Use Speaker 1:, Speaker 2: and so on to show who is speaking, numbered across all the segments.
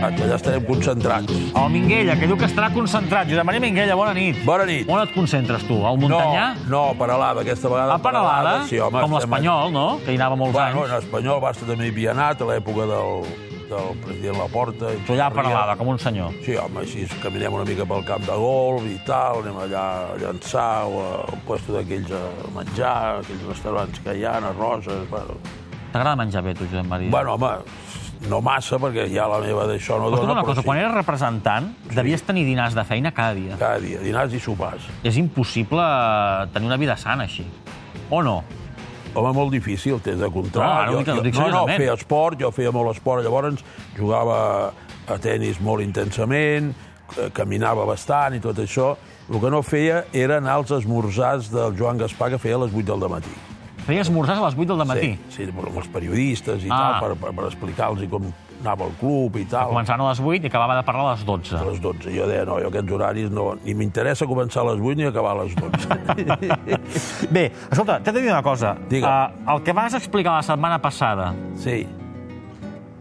Speaker 1: allà estarem concentrats.
Speaker 2: El Minguella, que diu que estarà concentrat. Josep Maria Minguella, bona nit.
Speaker 1: Bona nit.
Speaker 2: On et concentres, tu? Al Montanyà?
Speaker 1: No, no Peralada, aquesta vegada.
Speaker 2: A Peralada?
Speaker 1: Sí, home,
Speaker 2: Ah, com
Speaker 1: estem-
Speaker 2: l'Espanyol, no? Que hi anava molts
Speaker 1: Bueno,
Speaker 2: anys.
Speaker 1: en espanyol, Basta també hi havia anat, a l'època del, del president Laporta. i
Speaker 2: Tu allà a
Speaker 1: Sarrià.
Speaker 2: Peralada, com un senyor.
Speaker 1: Sí, home, així caminem una mica pel camp de golf i tal, anem allà a llançar o a un puesto d'aquells a menjar, aquells restaurants que hi ha, a Roses... Bueno,
Speaker 2: T'agrada menjar bé, tu, Josep Maria?
Speaker 1: bueno home, no massa, perquè ja la meva d'això no
Speaker 2: Escolta'm
Speaker 1: dona,
Speaker 2: una cosa,
Speaker 1: sí,
Speaker 2: quan eres representant, devies tenir dinars de feina cada dia.
Speaker 1: cada dia, dinars i sopars.
Speaker 2: És impossible eh, tenir una vida sana així. O no?
Speaker 1: Home, molt difícil, t'has de
Speaker 2: No,
Speaker 1: comptar.
Speaker 2: ara ho dic- ho dic
Speaker 1: no, no,
Speaker 2: seriosament.
Speaker 1: feia esport, jo feia molt esport, llavors jugava a tennis molt intensament, eh, caminava bastant i tot això. El que no feia era anar als esmorzars del Joan Gaspar, que feia a les 8 del matí.
Speaker 2: Feies esmorzars a les 8 del matí.
Speaker 1: Sí, sí, amb els periodistes i
Speaker 2: Ah.
Speaker 1: tal, per, per, per explicar-los com anava el club i tal.
Speaker 2: Començant a les 8 i acabava de parlar a les 12.
Speaker 1: A les 12. Jo deia, no, jo aquests horaris no... Ni m'interessa començar a les 8 ni acabar a les 12.
Speaker 2: Bé, escolta, t'he de dir una cosa.
Speaker 1: Digue'm.
Speaker 2: Eh, el que vas explicar la setmana passada
Speaker 1: sí.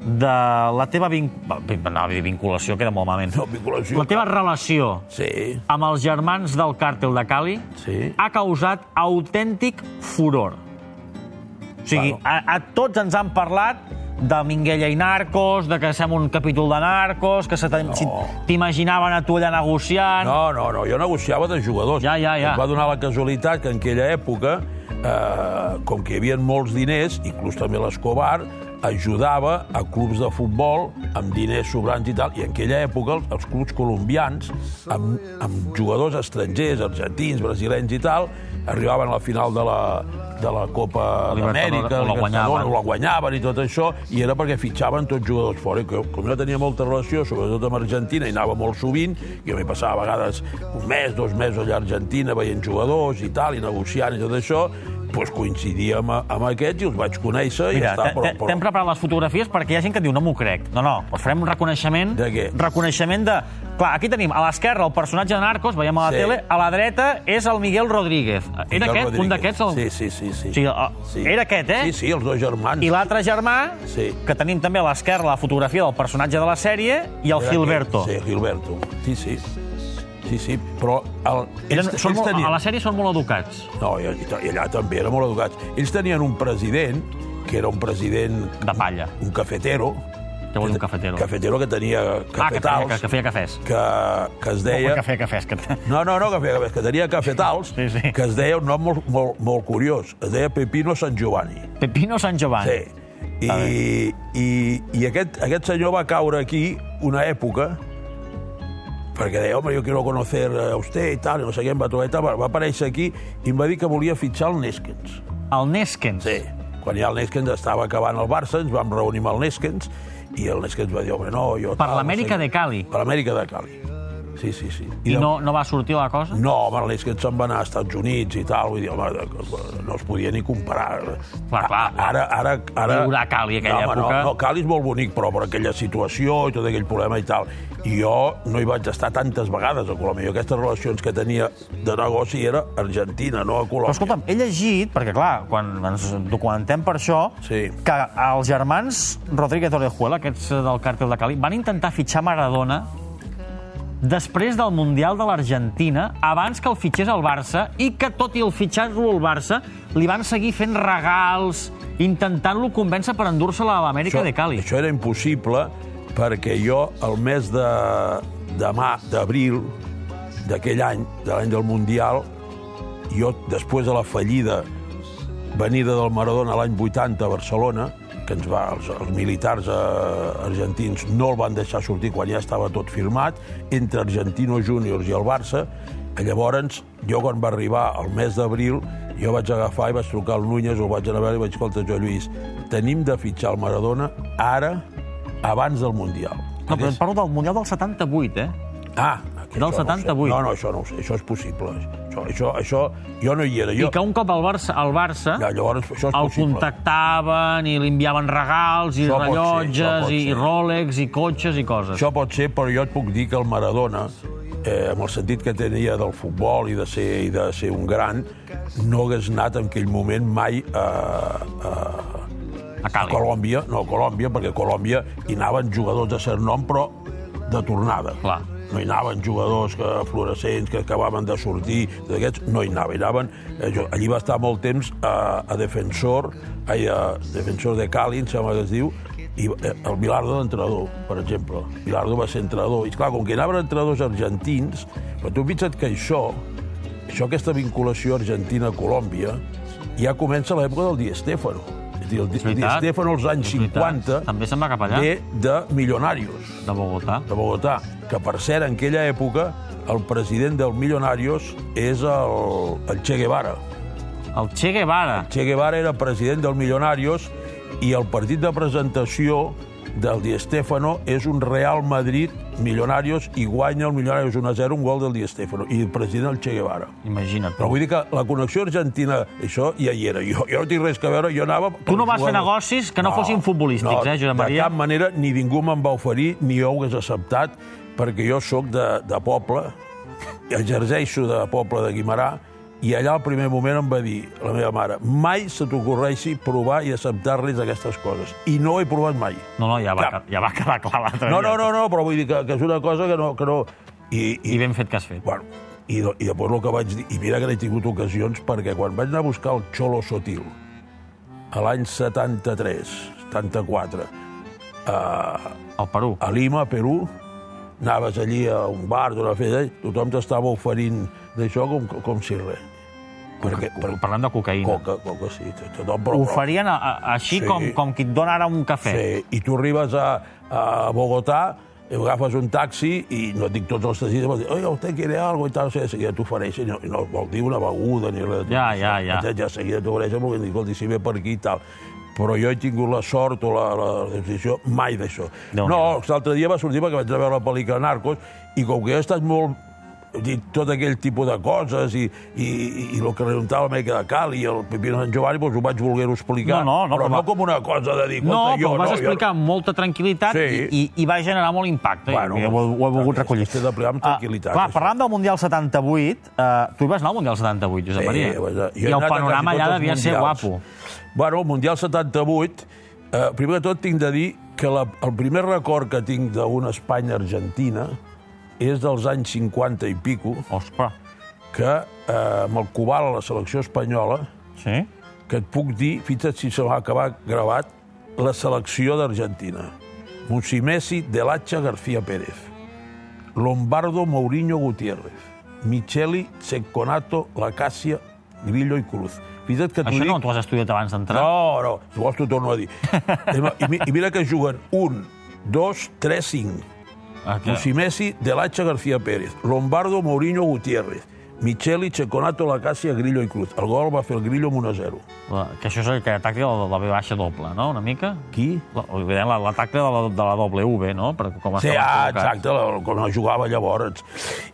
Speaker 2: de la teva vin... va, vin- anava a dir vinculació, que era molt malament.
Speaker 1: No, vinculació.
Speaker 2: La teva relació
Speaker 1: Sí,
Speaker 2: amb els germans del càrtel de Cali
Speaker 1: Sí.
Speaker 2: ha causat autèntic furor. O sigui,
Speaker 1: Bueno.
Speaker 2: a, a tots ens han parlat de Minguella i Narcos, de que fem un capítol de Narcos, que se t'a- si t'imaginaven a tu allà negociant...
Speaker 1: No, no, no, jo negociava de jugadors.
Speaker 2: Ja, ja, ja.
Speaker 1: Em va donar la casualitat que en aquella època, eh, com que hi havia molts diners, inclús també l'Escobar, ajudava a clubs de futbol amb diners sobrants i tal, i en aquella època els, els clubs colombians, amb, amb jugadors estrangers, argentins, brasilenys i tal, arribaven a la final de la, de la Copa d'Amèrica,
Speaker 2: Libertadores, o la guanyaven.
Speaker 1: o la guanyaven i tot això, i era perquè fitxaven tots jugadors fora. I que, com jo tenia molta relació, sobretot amb Argentina, i anava molt sovint, jo m'hi passava a vegades un mes, dos mesos allà a Argentina, veient jugadors i tal, i negociant i tot això, doncs coincidia amb, amb aquests i els vaig conèixer i ja
Speaker 2: Mira,
Speaker 1: està.
Speaker 2: t'he- t'he- t'hem preparat les fotografies perquè hi ha gent que diu no m'ho crec. No, no, doncs farem un reconeixement...
Speaker 1: De què?
Speaker 2: Reconeixement de... Clar, aquí tenim a l'esquerra el personatge de Narcos, veiem a la
Speaker 1: Sí.
Speaker 2: tele, a la dreta és el Miguel Rodríguez.
Speaker 1: Miguel
Speaker 2: Era aquest,
Speaker 1: Rodríguez.
Speaker 2: un d'aquests? El...
Speaker 1: Sí, sí, sí. sí.
Speaker 2: O sigui, el- era aquest, eh?
Speaker 1: Sí, sí, els dos germans.
Speaker 2: I l'altre germà,
Speaker 1: Sí.
Speaker 2: que tenim també a l'esquerra la fotografia del personatge de la sèrie, i el
Speaker 1: Era
Speaker 2: Gilberto.
Speaker 1: aquest. Sí, Gilberto. Sí, sí. Sí, sí, però... El,
Speaker 2: Eren,
Speaker 1: ells-
Speaker 2: són
Speaker 1: ells
Speaker 2: molt,
Speaker 1: tenien-
Speaker 2: a la sèrie són molt educats.
Speaker 1: No, i, i, i allà també eren molt educats. Ells tenien un president, que era un president,
Speaker 2: De palla.
Speaker 1: un cafetero.
Speaker 2: Què vol dir un cafetero?
Speaker 1: Cafetero que tenia
Speaker 2: ah, que feia,
Speaker 1: cafetals,
Speaker 2: que, que feia cafès.
Speaker 1: que, que es deia...
Speaker 2: Oh, cafè, cafès. Que...
Speaker 1: No, no, no, que feia cafès, que tenia cafetals,
Speaker 2: Sí, sí.
Speaker 1: que es deia un nom molt, molt, molt curiós. Es deia Pepino San Giovanni.
Speaker 2: Pepino San Giovanni.
Speaker 1: Sí. I, i, i aquest, aquest senyor va caure aquí una època perquè deia, home, jo quiero conocer a usted i tal, i no sé què, em va trobar i tal, va va aparèixer aquí i em va dir que volia fitxar el Neskens.
Speaker 2: El Neskens.
Speaker 1: Sí, quan ja el Neskens estava acabant el Barça, ens vam reunir amb el Neskens, i el Neskens va dir, home, no, jo...
Speaker 2: Per
Speaker 1: tal,
Speaker 2: l'Amèrica
Speaker 1: no
Speaker 2: de
Speaker 1: sé què."
Speaker 2: Cali.
Speaker 1: Per l'Amèrica de Cali. Sí, sí, sí.
Speaker 2: I
Speaker 1: de-
Speaker 2: no, no va sortir la cosa?
Speaker 1: No, home, el Neskens se'n va anar als Estats Units i tal, vull dir, home, de- no es podia ni comparar.
Speaker 2: Clar, clar.
Speaker 1: Ara, ara, ara...
Speaker 2: Viure a Cali, aquella
Speaker 1: no, home,
Speaker 2: època.
Speaker 1: No, no, Cali és molt bonic, però per aquella situació i tot aquell problema i tal. I jo no hi vaig estar tantes vegades a Colòmbia. Jo aquestes relacions que tenia de negoci era Argentina, no a
Speaker 2: Però
Speaker 1: Colòmbia.
Speaker 2: escolta'm, he llegit, perquè clar, quan ens documentem per això,
Speaker 1: Sí.
Speaker 2: que els germans Rodríguez Orejuela, aquests eh, del càrtel de Cali, van intentar fitxar Maradona després del Mundial de l'Argentina, abans que el fitxés el Barça, i que tot i el fitxar-lo al Barça, li van seguir fent regals, intentant-lo convèncer per endur-se-la a l'Amèrica de Cali.
Speaker 1: Això era impossible perquè jo el mes de, de mà, d'abril d'aquell any, de l'any del Mundial, jo, després de la fallida venida del Maradona l'any 80 a Barcelona, que ens va, els, els militars eh, argentins no el van deixar sortir quan ja estava tot firmat, entre Argentino Juniors i el Barça, que llavors, jo quan va arribar el mes d'abril, jo vaig agafar i vaig trucar al Núñez, el vaig anar a veure i vaig dir, escolta, jo, Lluís, tenim de fitxar el Maradona ara, abans del Mundial.
Speaker 2: No, però et parlo del Mundial del 78, eh?
Speaker 1: Ah, que
Speaker 2: Del
Speaker 1: això no ho sé.
Speaker 2: 78.
Speaker 1: No, no, això no ho sé, això és possible. Això, això, això jo no hi era.
Speaker 2: I
Speaker 1: Jo,
Speaker 2: que un cop el Barça, el Barça
Speaker 1: ja, llavors, això és
Speaker 2: el
Speaker 1: possible.
Speaker 2: contactaven i li enviaven regals i
Speaker 1: Això pot ser, això
Speaker 2: rellotges
Speaker 1: pot
Speaker 2: i, i
Speaker 1: ser.
Speaker 2: Rolex i cotxes i coses.
Speaker 1: Això pot ser, però jo et puc dir que el Maradona, eh, amb el sentit que tenia del futbol i de ser, i de ser un gran, no hagués anat en aquell moment mai a, a,
Speaker 2: A Cali.
Speaker 1: Colòmbia, no, Colòmbia, perquè a Colòmbia hi anaven jugadors de cert nom, però de tornada.
Speaker 2: Clar.
Speaker 1: No hi anaven jugadors que, fluorescents que acabaven de sortir, d'aquests, no hi anaven. Hi anaven eh, jo- allí va estar molt temps a, a Defensor, ai, a Defensor de Cali, em sembla que es diu, i eh, el Bilardo d'entrenador, per exemple. Bilardo va ser entrenador. I, clar, com que hi anaven entrenadors argentins, però tu fixa't que això, això aquesta vinculació Argentina-Colòmbia, ja comença l'època del Di Stéfano. És a dir, el Di, Di
Speaker 2: veritat.
Speaker 1: Stéfano als anys
Speaker 2: És
Speaker 1: 50
Speaker 2: veritat. També se'n va cap allà.
Speaker 1: ve de Millonarios
Speaker 2: De Bogotà.
Speaker 1: de Bogotà, que per cert, en aquella època, el president del Millonarios és el, el Che Guevara.
Speaker 2: El Che Guevara.
Speaker 1: Che Guevara era president del Millonarios i el partit de presentació del Di Stéfano és un Real Madrid Millonarios i guanya el Millonarios 1-0 un gol del Di Stéfano i el president el Che Guevara.
Speaker 2: Imagina't.
Speaker 1: Però vull dir que la connexió argentina, això ja hi era. Jo, jo no tinc res que veure, jo anava...
Speaker 2: Tu no vas fer negocis que no fossin futbolístics, eh, Josep Maria?
Speaker 1: De cap manera, ni ningú me'n va oferir, ni jo ho hagués acceptat, perquè jo sóc de, de poble, i exerceixo de poble de Guimarà, i allà al primer moment em va dir la meva mare mai se t'ocorreixi provar i acceptar res d'aquestes coses. I no ho he provat mai.
Speaker 2: No, no, ja va,
Speaker 1: Cap.
Speaker 2: ja va quedar clar l'altre
Speaker 1: No,
Speaker 2: dia.
Speaker 1: no, no, no, però vull dir que, que és una cosa que no... Que no i,
Speaker 2: I ben fet que has fet.
Speaker 1: Bueno, i, do- i després el que vaig dir, i mira que n'he tingut ocasions, perquè quan vaig anar a buscar el Cholo Sotil, a l'any 73, 74,
Speaker 2: El Perú.
Speaker 1: a Lima, Perú, anaves allí a un bar d'una festa, i tothom t'estava oferint d'això com, com si res. Perquè, per
Speaker 2: Parlant de cocaïna.
Speaker 1: coca, coca, sí, tothom... Però,
Speaker 2: Ho farien a, a, així
Speaker 1: Sí.
Speaker 2: com, com qui et dona ara un cafè.
Speaker 1: Sí, i tu arribes a, a Bogotà, i agafes un taxi i no et dic tots els taxis, vol dir, oi, usted quiere algo i tal, sí, de seguida t'ofereixen, i no, i no vol dir una beguda ni res. de tot
Speaker 2: Ja,
Speaker 1: això.
Speaker 2: ja, ja.
Speaker 1: Entens? Ja de seguida t'ofereixen, perquè dic, escolti, si ve per aquí i tal. Però jo he tingut la sort o la, la decisió mai d'això.
Speaker 2: Déu-n'hi-do.
Speaker 1: No, l'altre dia va sortir perquè vaig anar a veure la pel·lícula Narcos i com que he estat molt he dit tot aquell tipus de coses i, i, i, i el que representava la Meca de Cali i el Pepino Sant Giovanni, doncs ho vaig voler explicar.
Speaker 2: No, no, no,
Speaker 1: però
Speaker 2: però
Speaker 1: no
Speaker 2: va-
Speaker 1: com una cosa de dir...
Speaker 2: No,
Speaker 1: escolta,
Speaker 2: però
Speaker 1: jo,
Speaker 2: ho vas
Speaker 1: no, jo-
Speaker 2: explicar amb molta tranquil·litat
Speaker 1: Sí.
Speaker 2: i, i, i va generar molt impacte.
Speaker 1: Bueno,
Speaker 2: I ho, ho he volgut
Speaker 1: també,
Speaker 2: recollir.
Speaker 1: és que s'ha d'aplicar amb
Speaker 2: Ah,
Speaker 1: tranquil·litat,
Speaker 2: clar,
Speaker 1: això.
Speaker 2: parlant del Mundial 78, eh, tu hi vas anar al Mundial 78, Josep Maria.
Speaker 1: eh, jo he anat
Speaker 2: I el
Speaker 1: a
Speaker 2: panorama
Speaker 1: quasi
Speaker 2: allà
Speaker 1: tots els
Speaker 2: devia ser
Speaker 1: mundials.
Speaker 2: guapo.
Speaker 1: Bueno, el Mundial 78, eh, primer de tot tinc de dir que la, el primer record que tinc d'una Espanya-Argentina és dels anys 50 i pico,
Speaker 2: Ospa,
Speaker 1: que eh, amb el Cubal a la selecció espanyola,
Speaker 2: sí?
Speaker 1: que et puc dir, fixa't si se m'ha acabat gravat, la selecció d'Argentina. Monsimesi, Delacha, García Pérez. Lombardo, Mourinho, Gutiérrez. Micheli, Seconato, Lacàcia, Grillo i Cruz. Fixa't que t'ho
Speaker 2: Això
Speaker 1: dic...
Speaker 2: no eh? t'ho has estudiat abans d'entrar?
Speaker 1: No, no, si vols t'ho torno a dir. I, mi- I mira que juguen un, dos, tres, cinc.
Speaker 2: Ah, que-
Speaker 1: Musimesi, Delacha, García Pérez. Lombardo, Mourinho, Gutiérrez. Micheli, Checonato, Lacàcia, Grillo i Cruz. El gol va fer el Grillo amb 1 a 0.
Speaker 2: La- Que això és el que ataca la, la B baixa doble, no?, una mica?
Speaker 1: Qui?
Speaker 2: La- Evident, la- l'atac de, la, de la W, no?, per com
Speaker 1: Sí,
Speaker 2: estaven
Speaker 1: ah,
Speaker 2: col·locats.
Speaker 1: exacte, la- quan no jugava llavors.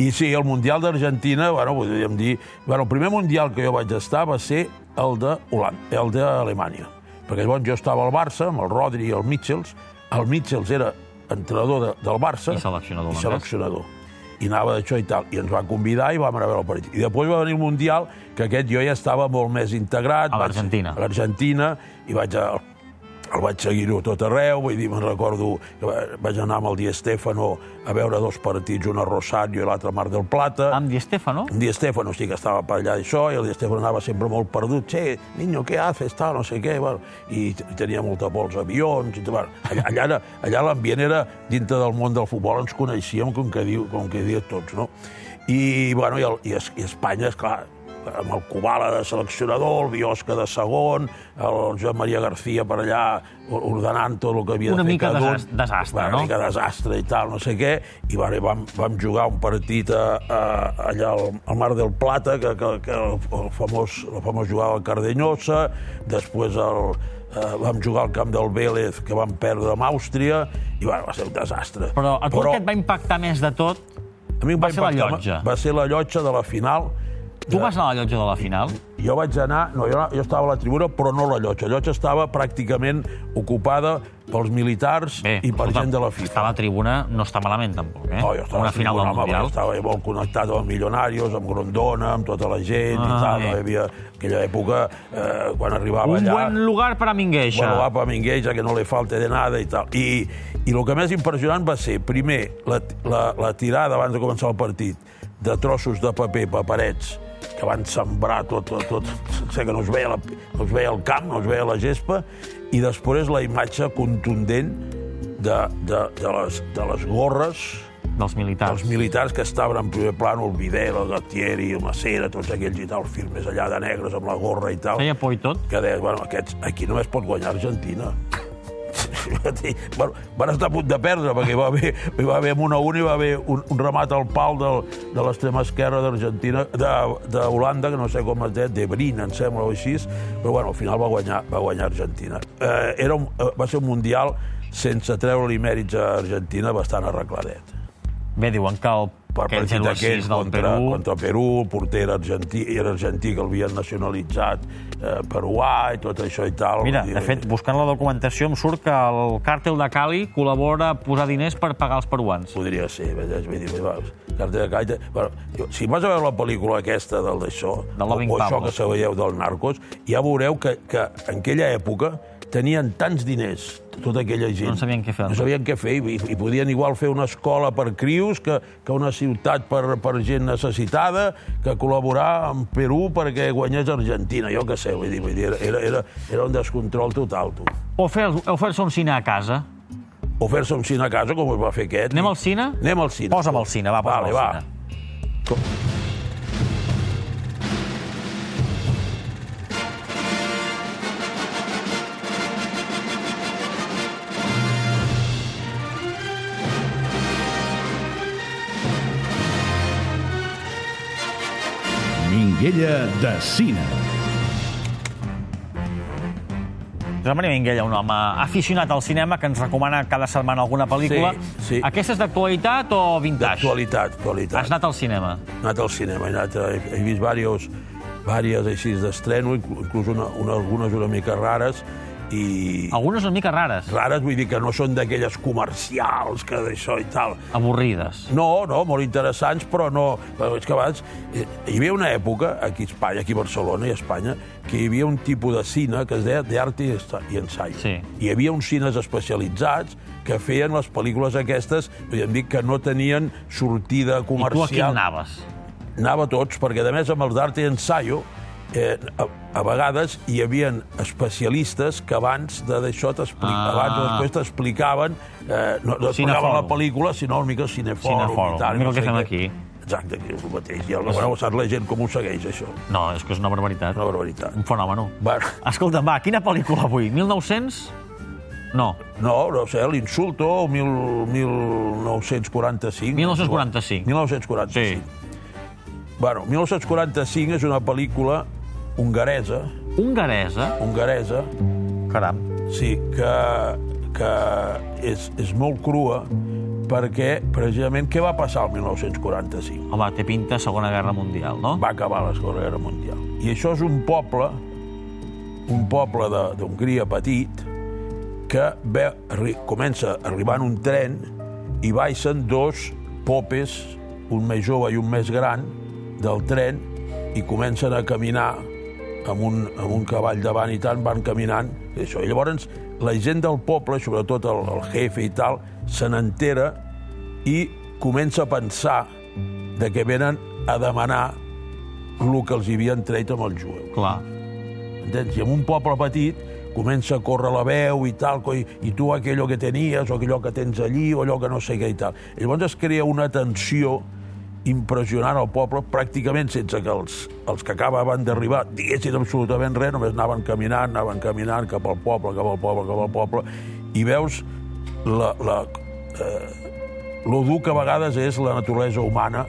Speaker 1: I sí, el Mundial d'Argentina, bueno, podríem dir... Bueno, el primer Mundial que jo vaig estar va ser el de Holanda, el d'Alemanya. Perquè llavors jo estava al Barça, amb el Rodri i el Mitchells. El Mitchells era entrenador de, del Barça.
Speaker 2: I seleccionador
Speaker 1: I
Speaker 2: holandès.
Speaker 1: seleccionador. I anava d'això i tal. I ens va convidar i vam anar a veure el partit. I després va venir el Mundial, que aquest jo ja estava molt més integrat.
Speaker 2: A
Speaker 1: vaig-
Speaker 2: l'Argentina.
Speaker 1: A l'Argentina, i vaig al el vaig seguir-ho a tot arreu, vull dir, me'n recordo que va- vaig anar amb el Di Stéfano a veure dos partits, un a Rosario i l'altre a Mar del Plata.
Speaker 2: Amb Di Stefano?
Speaker 1: Un Di Stéfano sí que estava per allà això, i el Di Stéfano anava sempre molt perdut. Che, niño, què haces? Tal, no sé què. Bueno, I t- tenia molta por als avions. I, tot, bueno, allà allà era- allà l'ambient era, dintre del món del futbol, ens coneixíem com que diu, com que diu tots, no? I, bueno, i, el, i, es, i Espanya, esclar, amb el Kubala de seleccionador, el Biosca de segon, el Joan Maria García per allà ordenant tot el que havia
Speaker 2: Una
Speaker 1: de fer
Speaker 2: mica
Speaker 1: cada un.
Speaker 2: desas- desastre,
Speaker 1: Bueno,
Speaker 2: no?
Speaker 1: Una mica desastre i tal, no sé què, i va, vam, vam jugar un partit a, a, allà al, al Mar del Plata, que, que, que el, el, famós, el famós jugava al Cardenyosa, després el, eh, vam jugar al camp del Vélez, que vam perdre amb Àustria, i bueno, va ser un desastre.
Speaker 2: Però a tu el que et va impactar més de tot
Speaker 1: a mi em
Speaker 2: va ser la
Speaker 1: impactar-
Speaker 2: llotja.
Speaker 1: Va ser la llotja de la final
Speaker 2: Tu vas anar a la llotja de la final?
Speaker 1: Jo vaig anar... No, jo, jo estava a la tribuna, però no a la llotja. La llotja estava pràcticament ocupada pels militars i per
Speaker 2: escolta,
Speaker 1: gent de la FIFA.
Speaker 2: Estar a la tribuna no està malament, tampoc, eh?
Speaker 1: No, Oh, jo estava
Speaker 2: Una final
Speaker 1: segur,
Speaker 2: del
Speaker 1: home, perquè
Speaker 2: Mundial.
Speaker 1: Estava molt connectat amb Millonarios, amb Grondona, amb tota la gent ah,
Speaker 2: Ah,
Speaker 1: i tal. No?
Speaker 2: bé.
Speaker 1: Hi havia aquella època, eh, quan arribava
Speaker 2: Un
Speaker 1: allà...
Speaker 2: buen lugar para Mingueixa.
Speaker 1: Bueno, va para Mingueixa, que no li falta de nada i tal. I, I el que més impressionant va ser, primer, la, la, la tirada abans de començar el partit de trossos de paper, paperets, que van sembrar tot, tot, tot sé que no es, veia la, no es veia el camp, no es veia la gespa, i després la imatge contundent de, de, de, les, de les gorres
Speaker 2: Dels militars.
Speaker 1: els militars que estaven en primer plano, el Videla, el Gattieri, el Macera, tots aquells i tal, firmes allà de negres amb la gorra i tal
Speaker 2: Feia por i tot.
Speaker 1: que deies, bueno, aquests, aquí només pot guanyar Argentina. bueno, van estar a punt de perdre, perquè hi va haver, hi va haver amb una a una, hi va haver un, un remat al pal del, de l'extrema esquerra d'Argentina, de- d'Holanda, que no sé com es deia, de Brin, em sembla, o així, però bueno, al final va guanyar, va guanyar Argentina. Eh, era un, eh, va ser un Mundial sense treure-li mèrits a Argentina bastant arregladet.
Speaker 2: Bé, diuen que el
Speaker 1: Per
Speaker 2: aquell
Speaker 1: partit
Speaker 2: 0 a 6
Speaker 1: d'aquells
Speaker 2: del
Speaker 1: contra,
Speaker 2: Perú...
Speaker 1: contra Perú, el porter era argentí, era argentí que l'havien nacionalitzat eh, peruà i tot això i tal.
Speaker 2: Mira,
Speaker 1: I-
Speaker 2: de fet, buscant la documentació em surt que el càrtel de Cali col·labora a posar diners per pagar els peruans.
Speaker 1: Podria ser, vaja, vull dir, va, cartera de caita... Bueno, jo, si vas a veure la pel·lícula aquesta del d'això,
Speaker 2: Del
Speaker 1: o,
Speaker 2: Loving
Speaker 1: o això
Speaker 2: Pablo.
Speaker 1: que se veieu del Narcos, ja veureu que, que en aquella època tenien tants diners, tota aquella gent.
Speaker 2: No sabien què fer.
Speaker 1: No sabien què fer, i, i podien igual fer una escola per crius que, que una ciutat per, per gent necessitada, que col·laborar amb Perú perquè guanyés Argentina, jo què sé, vull dir, vull dir era, era, era, era un descontrol total, tu.
Speaker 2: O fer, o fer-se un cine a casa.
Speaker 1: O fer-se un cine a casa, com es va fer aquest.
Speaker 2: Anem al cine?
Speaker 1: Anem al cine.
Speaker 2: Posa'm el cine, va, posa'm
Speaker 1: vale,
Speaker 2: el
Speaker 1: va.
Speaker 2: cine.
Speaker 3: Minguella de Cine.
Speaker 2: Josep Maria Minguella, un home aficionat al cinema que ens recomana cada setmana alguna pel·lícula.
Speaker 1: Sí, sí.
Speaker 2: Aquesta és d'actualitat o vintage?
Speaker 1: Actualitat, actualitat.
Speaker 2: Has anat al cinema.
Speaker 1: He anat al cinema, he, anat, he, he vist diversos, diverses així d'estreno, inclu- inclús una, una, algunes una mica rares, i
Speaker 2: Algunes una mica rares,
Speaker 1: rares vull dir que no són d'aquelles comercials que d'això i tal.
Speaker 2: avorrides.
Speaker 1: No, no, molt interessants, però no... És que abans eh, hi havia una època, aquí a Espanya, aquí a Barcelona i a Espanya, que hi havia un tipus de cine que es deia d'art i esta- i ensaio.
Speaker 2: Sí.
Speaker 1: Hi havia uns cines especialitzats que feien les pel·lícules aquestes, podríem dir, que no tenien sortida
Speaker 2: I tu
Speaker 1: comercial
Speaker 2: a quin anaves?
Speaker 1: anava a tots, perquè a més amb els d'art i ensaio eh, a, a vegades hi havia especialistes que abans de d'això t'explicaven,
Speaker 2: Ah.
Speaker 1: abans o després t'explicaven, eh, no, no t'explicaven
Speaker 2: Cinefòrum.
Speaker 1: la pel·lícula, sinó una mica cinefòrum.
Speaker 2: Cinefòrum,
Speaker 1: i tal,
Speaker 2: mira
Speaker 1: no
Speaker 2: el que
Speaker 1: sé
Speaker 2: fem
Speaker 1: què.
Speaker 2: aquí.
Speaker 1: Exacte, que és el mateix. I aleshores saps la gent com ho segueix, això.
Speaker 2: No, és que és una barbaritat.
Speaker 1: Una barbaritat.
Speaker 2: Un fenomen.
Speaker 1: Bueno,
Speaker 2: Escolta'm, va, quina pel·lícula avui? 1900? No,
Speaker 1: no, no sé, l'insulto, 1945.
Speaker 2: 1945.
Speaker 1: 1945.
Speaker 2: sí.
Speaker 1: Bueno, 1945 és una pel·lícula hongaresa,
Speaker 2: Hongaresa?
Speaker 1: hongaresa,
Speaker 2: Caram.
Speaker 1: Sí, que, que és, és molt crua perquè, precisament, què va passar el 1945?
Speaker 2: Home, té pinta Segona Guerra Mundial, no?
Speaker 1: Va acabar la Segona Guerra Mundial. I això és un poble, un poble de- d'Hongria petit, que ve, arri, comença arribant un tren i baixen dos popes, un més jove i un més gran, del tren i comencen a caminar amb un, amb un cavall davant i tant, van caminant. I, això. I llavors la gent del poble, sobretot el, el jefe i tal, se n'entera i comença a pensar de que venen a demanar el que els hi havien tret amb els jueus.
Speaker 2: Clar.
Speaker 1: Entens? I en un poble petit comença a córrer la veu i tal, coi, i tu aquello que tenies, o aquello que tens allí, o allò que no sé què i tal. I llavors es crea una tensió impressionant al poble, pràcticament sense que els, els que acabaven d'arribar diguessin absolutament res, només anaven caminant, anaven caminant cap al poble, cap al poble, cap al poble, i veus la, la, lo dur que a vegades és la naturalesa humana,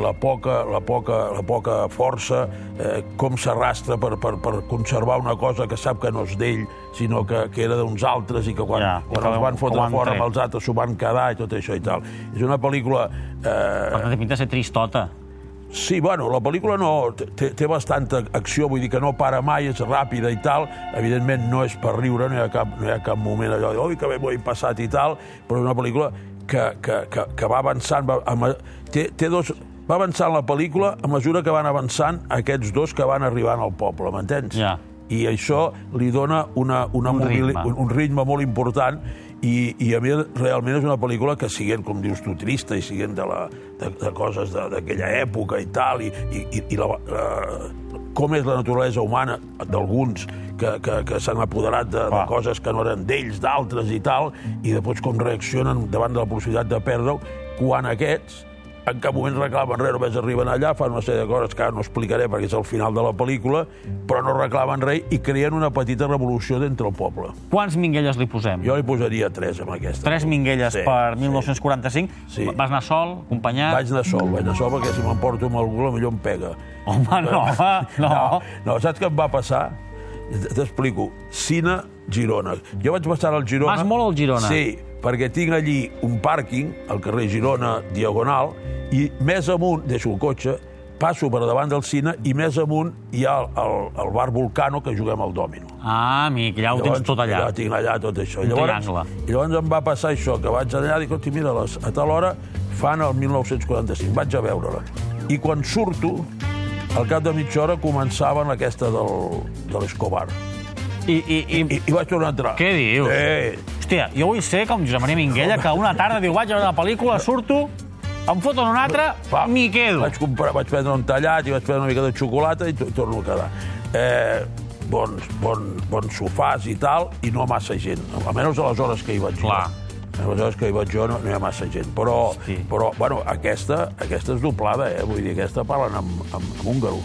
Speaker 1: la poca, la poca, la poca força, eh, com s'arrastra per, per, per conservar una cosa que sap que no és d'ell, sinó que, que era d'uns altres i que quan,
Speaker 2: Ja,
Speaker 1: ja,
Speaker 2: que
Speaker 1: quan els
Speaker 2: ho-
Speaker 1: van
Speaker 2: que ho
Speaker 1: fotre
Speaker 2: han
Speaker 1: fora
Speaker 2: tret.
Speaker 1: amb els altres s'ho van quedar i tot això i tal. És una pel·lícula... Eh,
Speaker 2: Per tant, té pinta de ser tristota.
Speaker 1: Sí, bueno, la pel·lícula no, té, té bastanta acció, vull dir que no para mai, és ràpida i tal. Evidentment no és per riure, no hi ha cap, no hi ha cap moment allò de oi, que bé m'ho he passat i tal, però és una pel·lícula que, que, que, que va avançant, va, amb, té, té dos, va avançant la pel·lícula a mesura que van avançant aquests dos que van arribant al poble, m'entens?
Speaker 2: Ja.
Speaker 1: I això li dona una, una
Speaker 2: Un
Speaker 1: mobili-
Speaker 2: ritme.
Speaker 1: un, un ritme molt important i, i a mi realment és una pel·lícula que siguent, com dius tu, trista i siguent de, la, de, de coses de- d'aquella època i tal, i, i, i- i la, la, com és la naturalesa humana d'alguns que, que, que s'han apoderat de, de
Speaker 2: Clar.
Speaker 1: coses que no eren d'ells, d'altres i tal, i després com reaccionen davant de la possibilitat de perdre-ho, quan aquests en cap moment reclamen res, només arriben allà, fan una sèrie de coses que ara no explicaré perquè és el final de la pel·lícula, però no reclamen res i creen una petita revolució d'entre el poble.
Speaker 2: Quants minguelles li posem?
Speaker 1: Jo li posaria tres amb aquesta.
Speaker 2: Tres minguelles
Speaker 1: Sí,
Speaker 2: per
Speaker 1: sí.
Speaker 2: 1945.
Speaker 1: Sí.
Speaker 2: Vas anar sol, acompanyat?
Speaker 1: Vaig anar sol, vaig anar sol, perquè si m'emporto amb algú, potser em pega.
Speaker 2: Home, no, home, no.
Speaker 1: no. No, saps què em va passar? T- T'explico. Cine, Girona. Jo vaig passar al Girona...
Speaker 2: Vas molt al Girona.
Speaker 1: Sí, perquè tinc allí un pàrquing, al carrer Girona, diagonal, i més amunt, deixo el cotxe, passo per davant del cine i més amunt hi ha el, el, el bar Volcano que juguem al dòmino.
Speaker 2: Ah, amic, ja ho tens tot allà.
Speaker 1: Ja tinc allà tot això.
Speaker 2: Un
Speaker 1: Llavors,
Speaker 2: triangle.
Speaker 1: i llavors em va passar això, que vaig allà i dic, "Hosti, mira, les, a tal hora fan el 1945, vaig a veure-la. I quan surto, al cap de mitja hora començaven aquesta del, de l'Escobar.
Speaker 2: I, i, i,
Speaker 1: I, I vaig tornar a entrar.
Speaker 2: Què dius?
Speaker 1: Sí.
Speaker 2: Hòstia, jo vull ser com Josep Maria Minguella, que una tarda diu, vaig a veure una pel·lícula, surto, em foten una altra, m'hi quedo.
Speaker 1: Vaig, comprar, vaig prendre un tallat i vaig prendre una mica de xocolata i to- torno a quedar. Eh, bons, bon, bons sofàs i tal, i no massa gent. Almenys a les hores que hi vaig
Speaker 2: Clar.
Speaker 1: jo. A les hores que hi vaig jo no, no hi ha massa gent. Però,
Speaker 2: Hosti.
Speaker 1: però bueno, aquesta, aquesta és doblada, eh? Vull dir, aquesta parlen amb, amb, amb húngaro.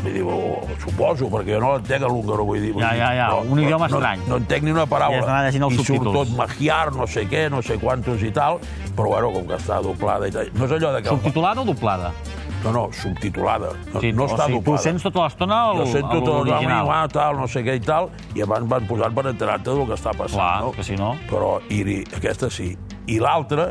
Speaker 1: Vull dir, o, o, suposo, perquè jo no l'entenc a l'húngaro, vull dir... vull
Speaker 2: Ja,
Speaker 1: dir,
Speaker 2: ja, ja, un idioma
Speaker 1: no,
Speaker 2: estrany.
Speaker 1: No, entenc ni una
Speaker 2: I
Speaker 1: paraula.
Speaker 2: has d'anar llegint els
Speaker 1: I surt
Speaker 2: subtítols.
Speaker 1: tot magiar, no sé què, no sé quantos i tal, però bueno, com que està doblada i tal. No és allò de que... el
Speaker 2: Subtitulada o doblada?
Speaker 1: no, no, subtitulada. No,
Speaker 2: Sí,
Speaker 1: no
Speaker 2: o
Speaker 1: està
Speaker 2: sigui, tu
Speaker 1: doblada.
Speaker 2: sents tota l'estona el,
Speaker 1: Jo sento
Speaker 2: el
Speaker 1: tot el
Speaker 2: original.
Speaker 1: ah, tal, no sé què i tal, i abans van posant per enterar-te del que està passant.
Speaker 2: Clar,
Speaker 1: no?
Speaker 2: que si no.
Speaker 1: Però i, i- aquesta sí. I l'altra,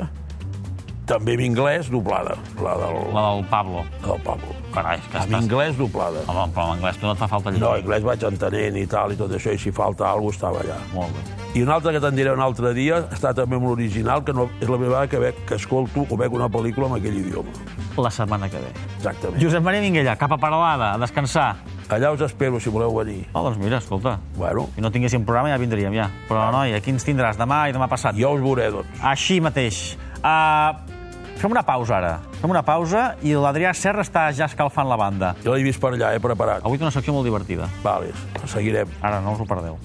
Speaker 1: també en anglès, doblada. La del, la...
Speaker 2: La del Pablo.
Speaker 1: del Pablo.
Speaker 2: Carai, és que
Speaker 1: En
Speaker 2: estàs... Ah.
Speaker 1: anglès, doblada.
Speaker 2: Home, però en anglès tu no et fa falta
Speaker 1: No,
Speaker 2: llegir.
Speaker 1: en anglès vaig entenent i tal, i tot això, i si falta alguna cosa, estava allà.
Speaker 2: Molt bé.
Speaker 1: I una altra que te'n diré un altre dia, està també amb l'original, que no, és la primera vegada que, veig, que escolto o veig una pel·lícula en aquell idioma.
Speaker 2: La setmana que ve.
Speaker 1: Exactament.
Speaker 2: Josep Maria Minguella, cap a Paralada, a descansar.
Speaker 1: Allà us espero, si voleu venir.
Speaker 2: Oh, doncs mira, escolta,
Speaker 1: Bueno,
Speaker 2: si no tinguéssim programa ja vindríem, ja. Però, noi, aquí ens tindràs demà i demà passat.
Speaker 1: jo us veuré, doncs.
Speaker 2: Així mateix. Uh, fem una pausa, ara. Fem una pausa i l'Adrià Serra està ja escalfant la banda.
Speaker 1: Jo l'he vist per allà, he preparat.
Speaker 2: Avui té una secció molt divertida.
Speaker 1: Vale, seguirem.
Speaker 2: Ara, no us ho perdeu.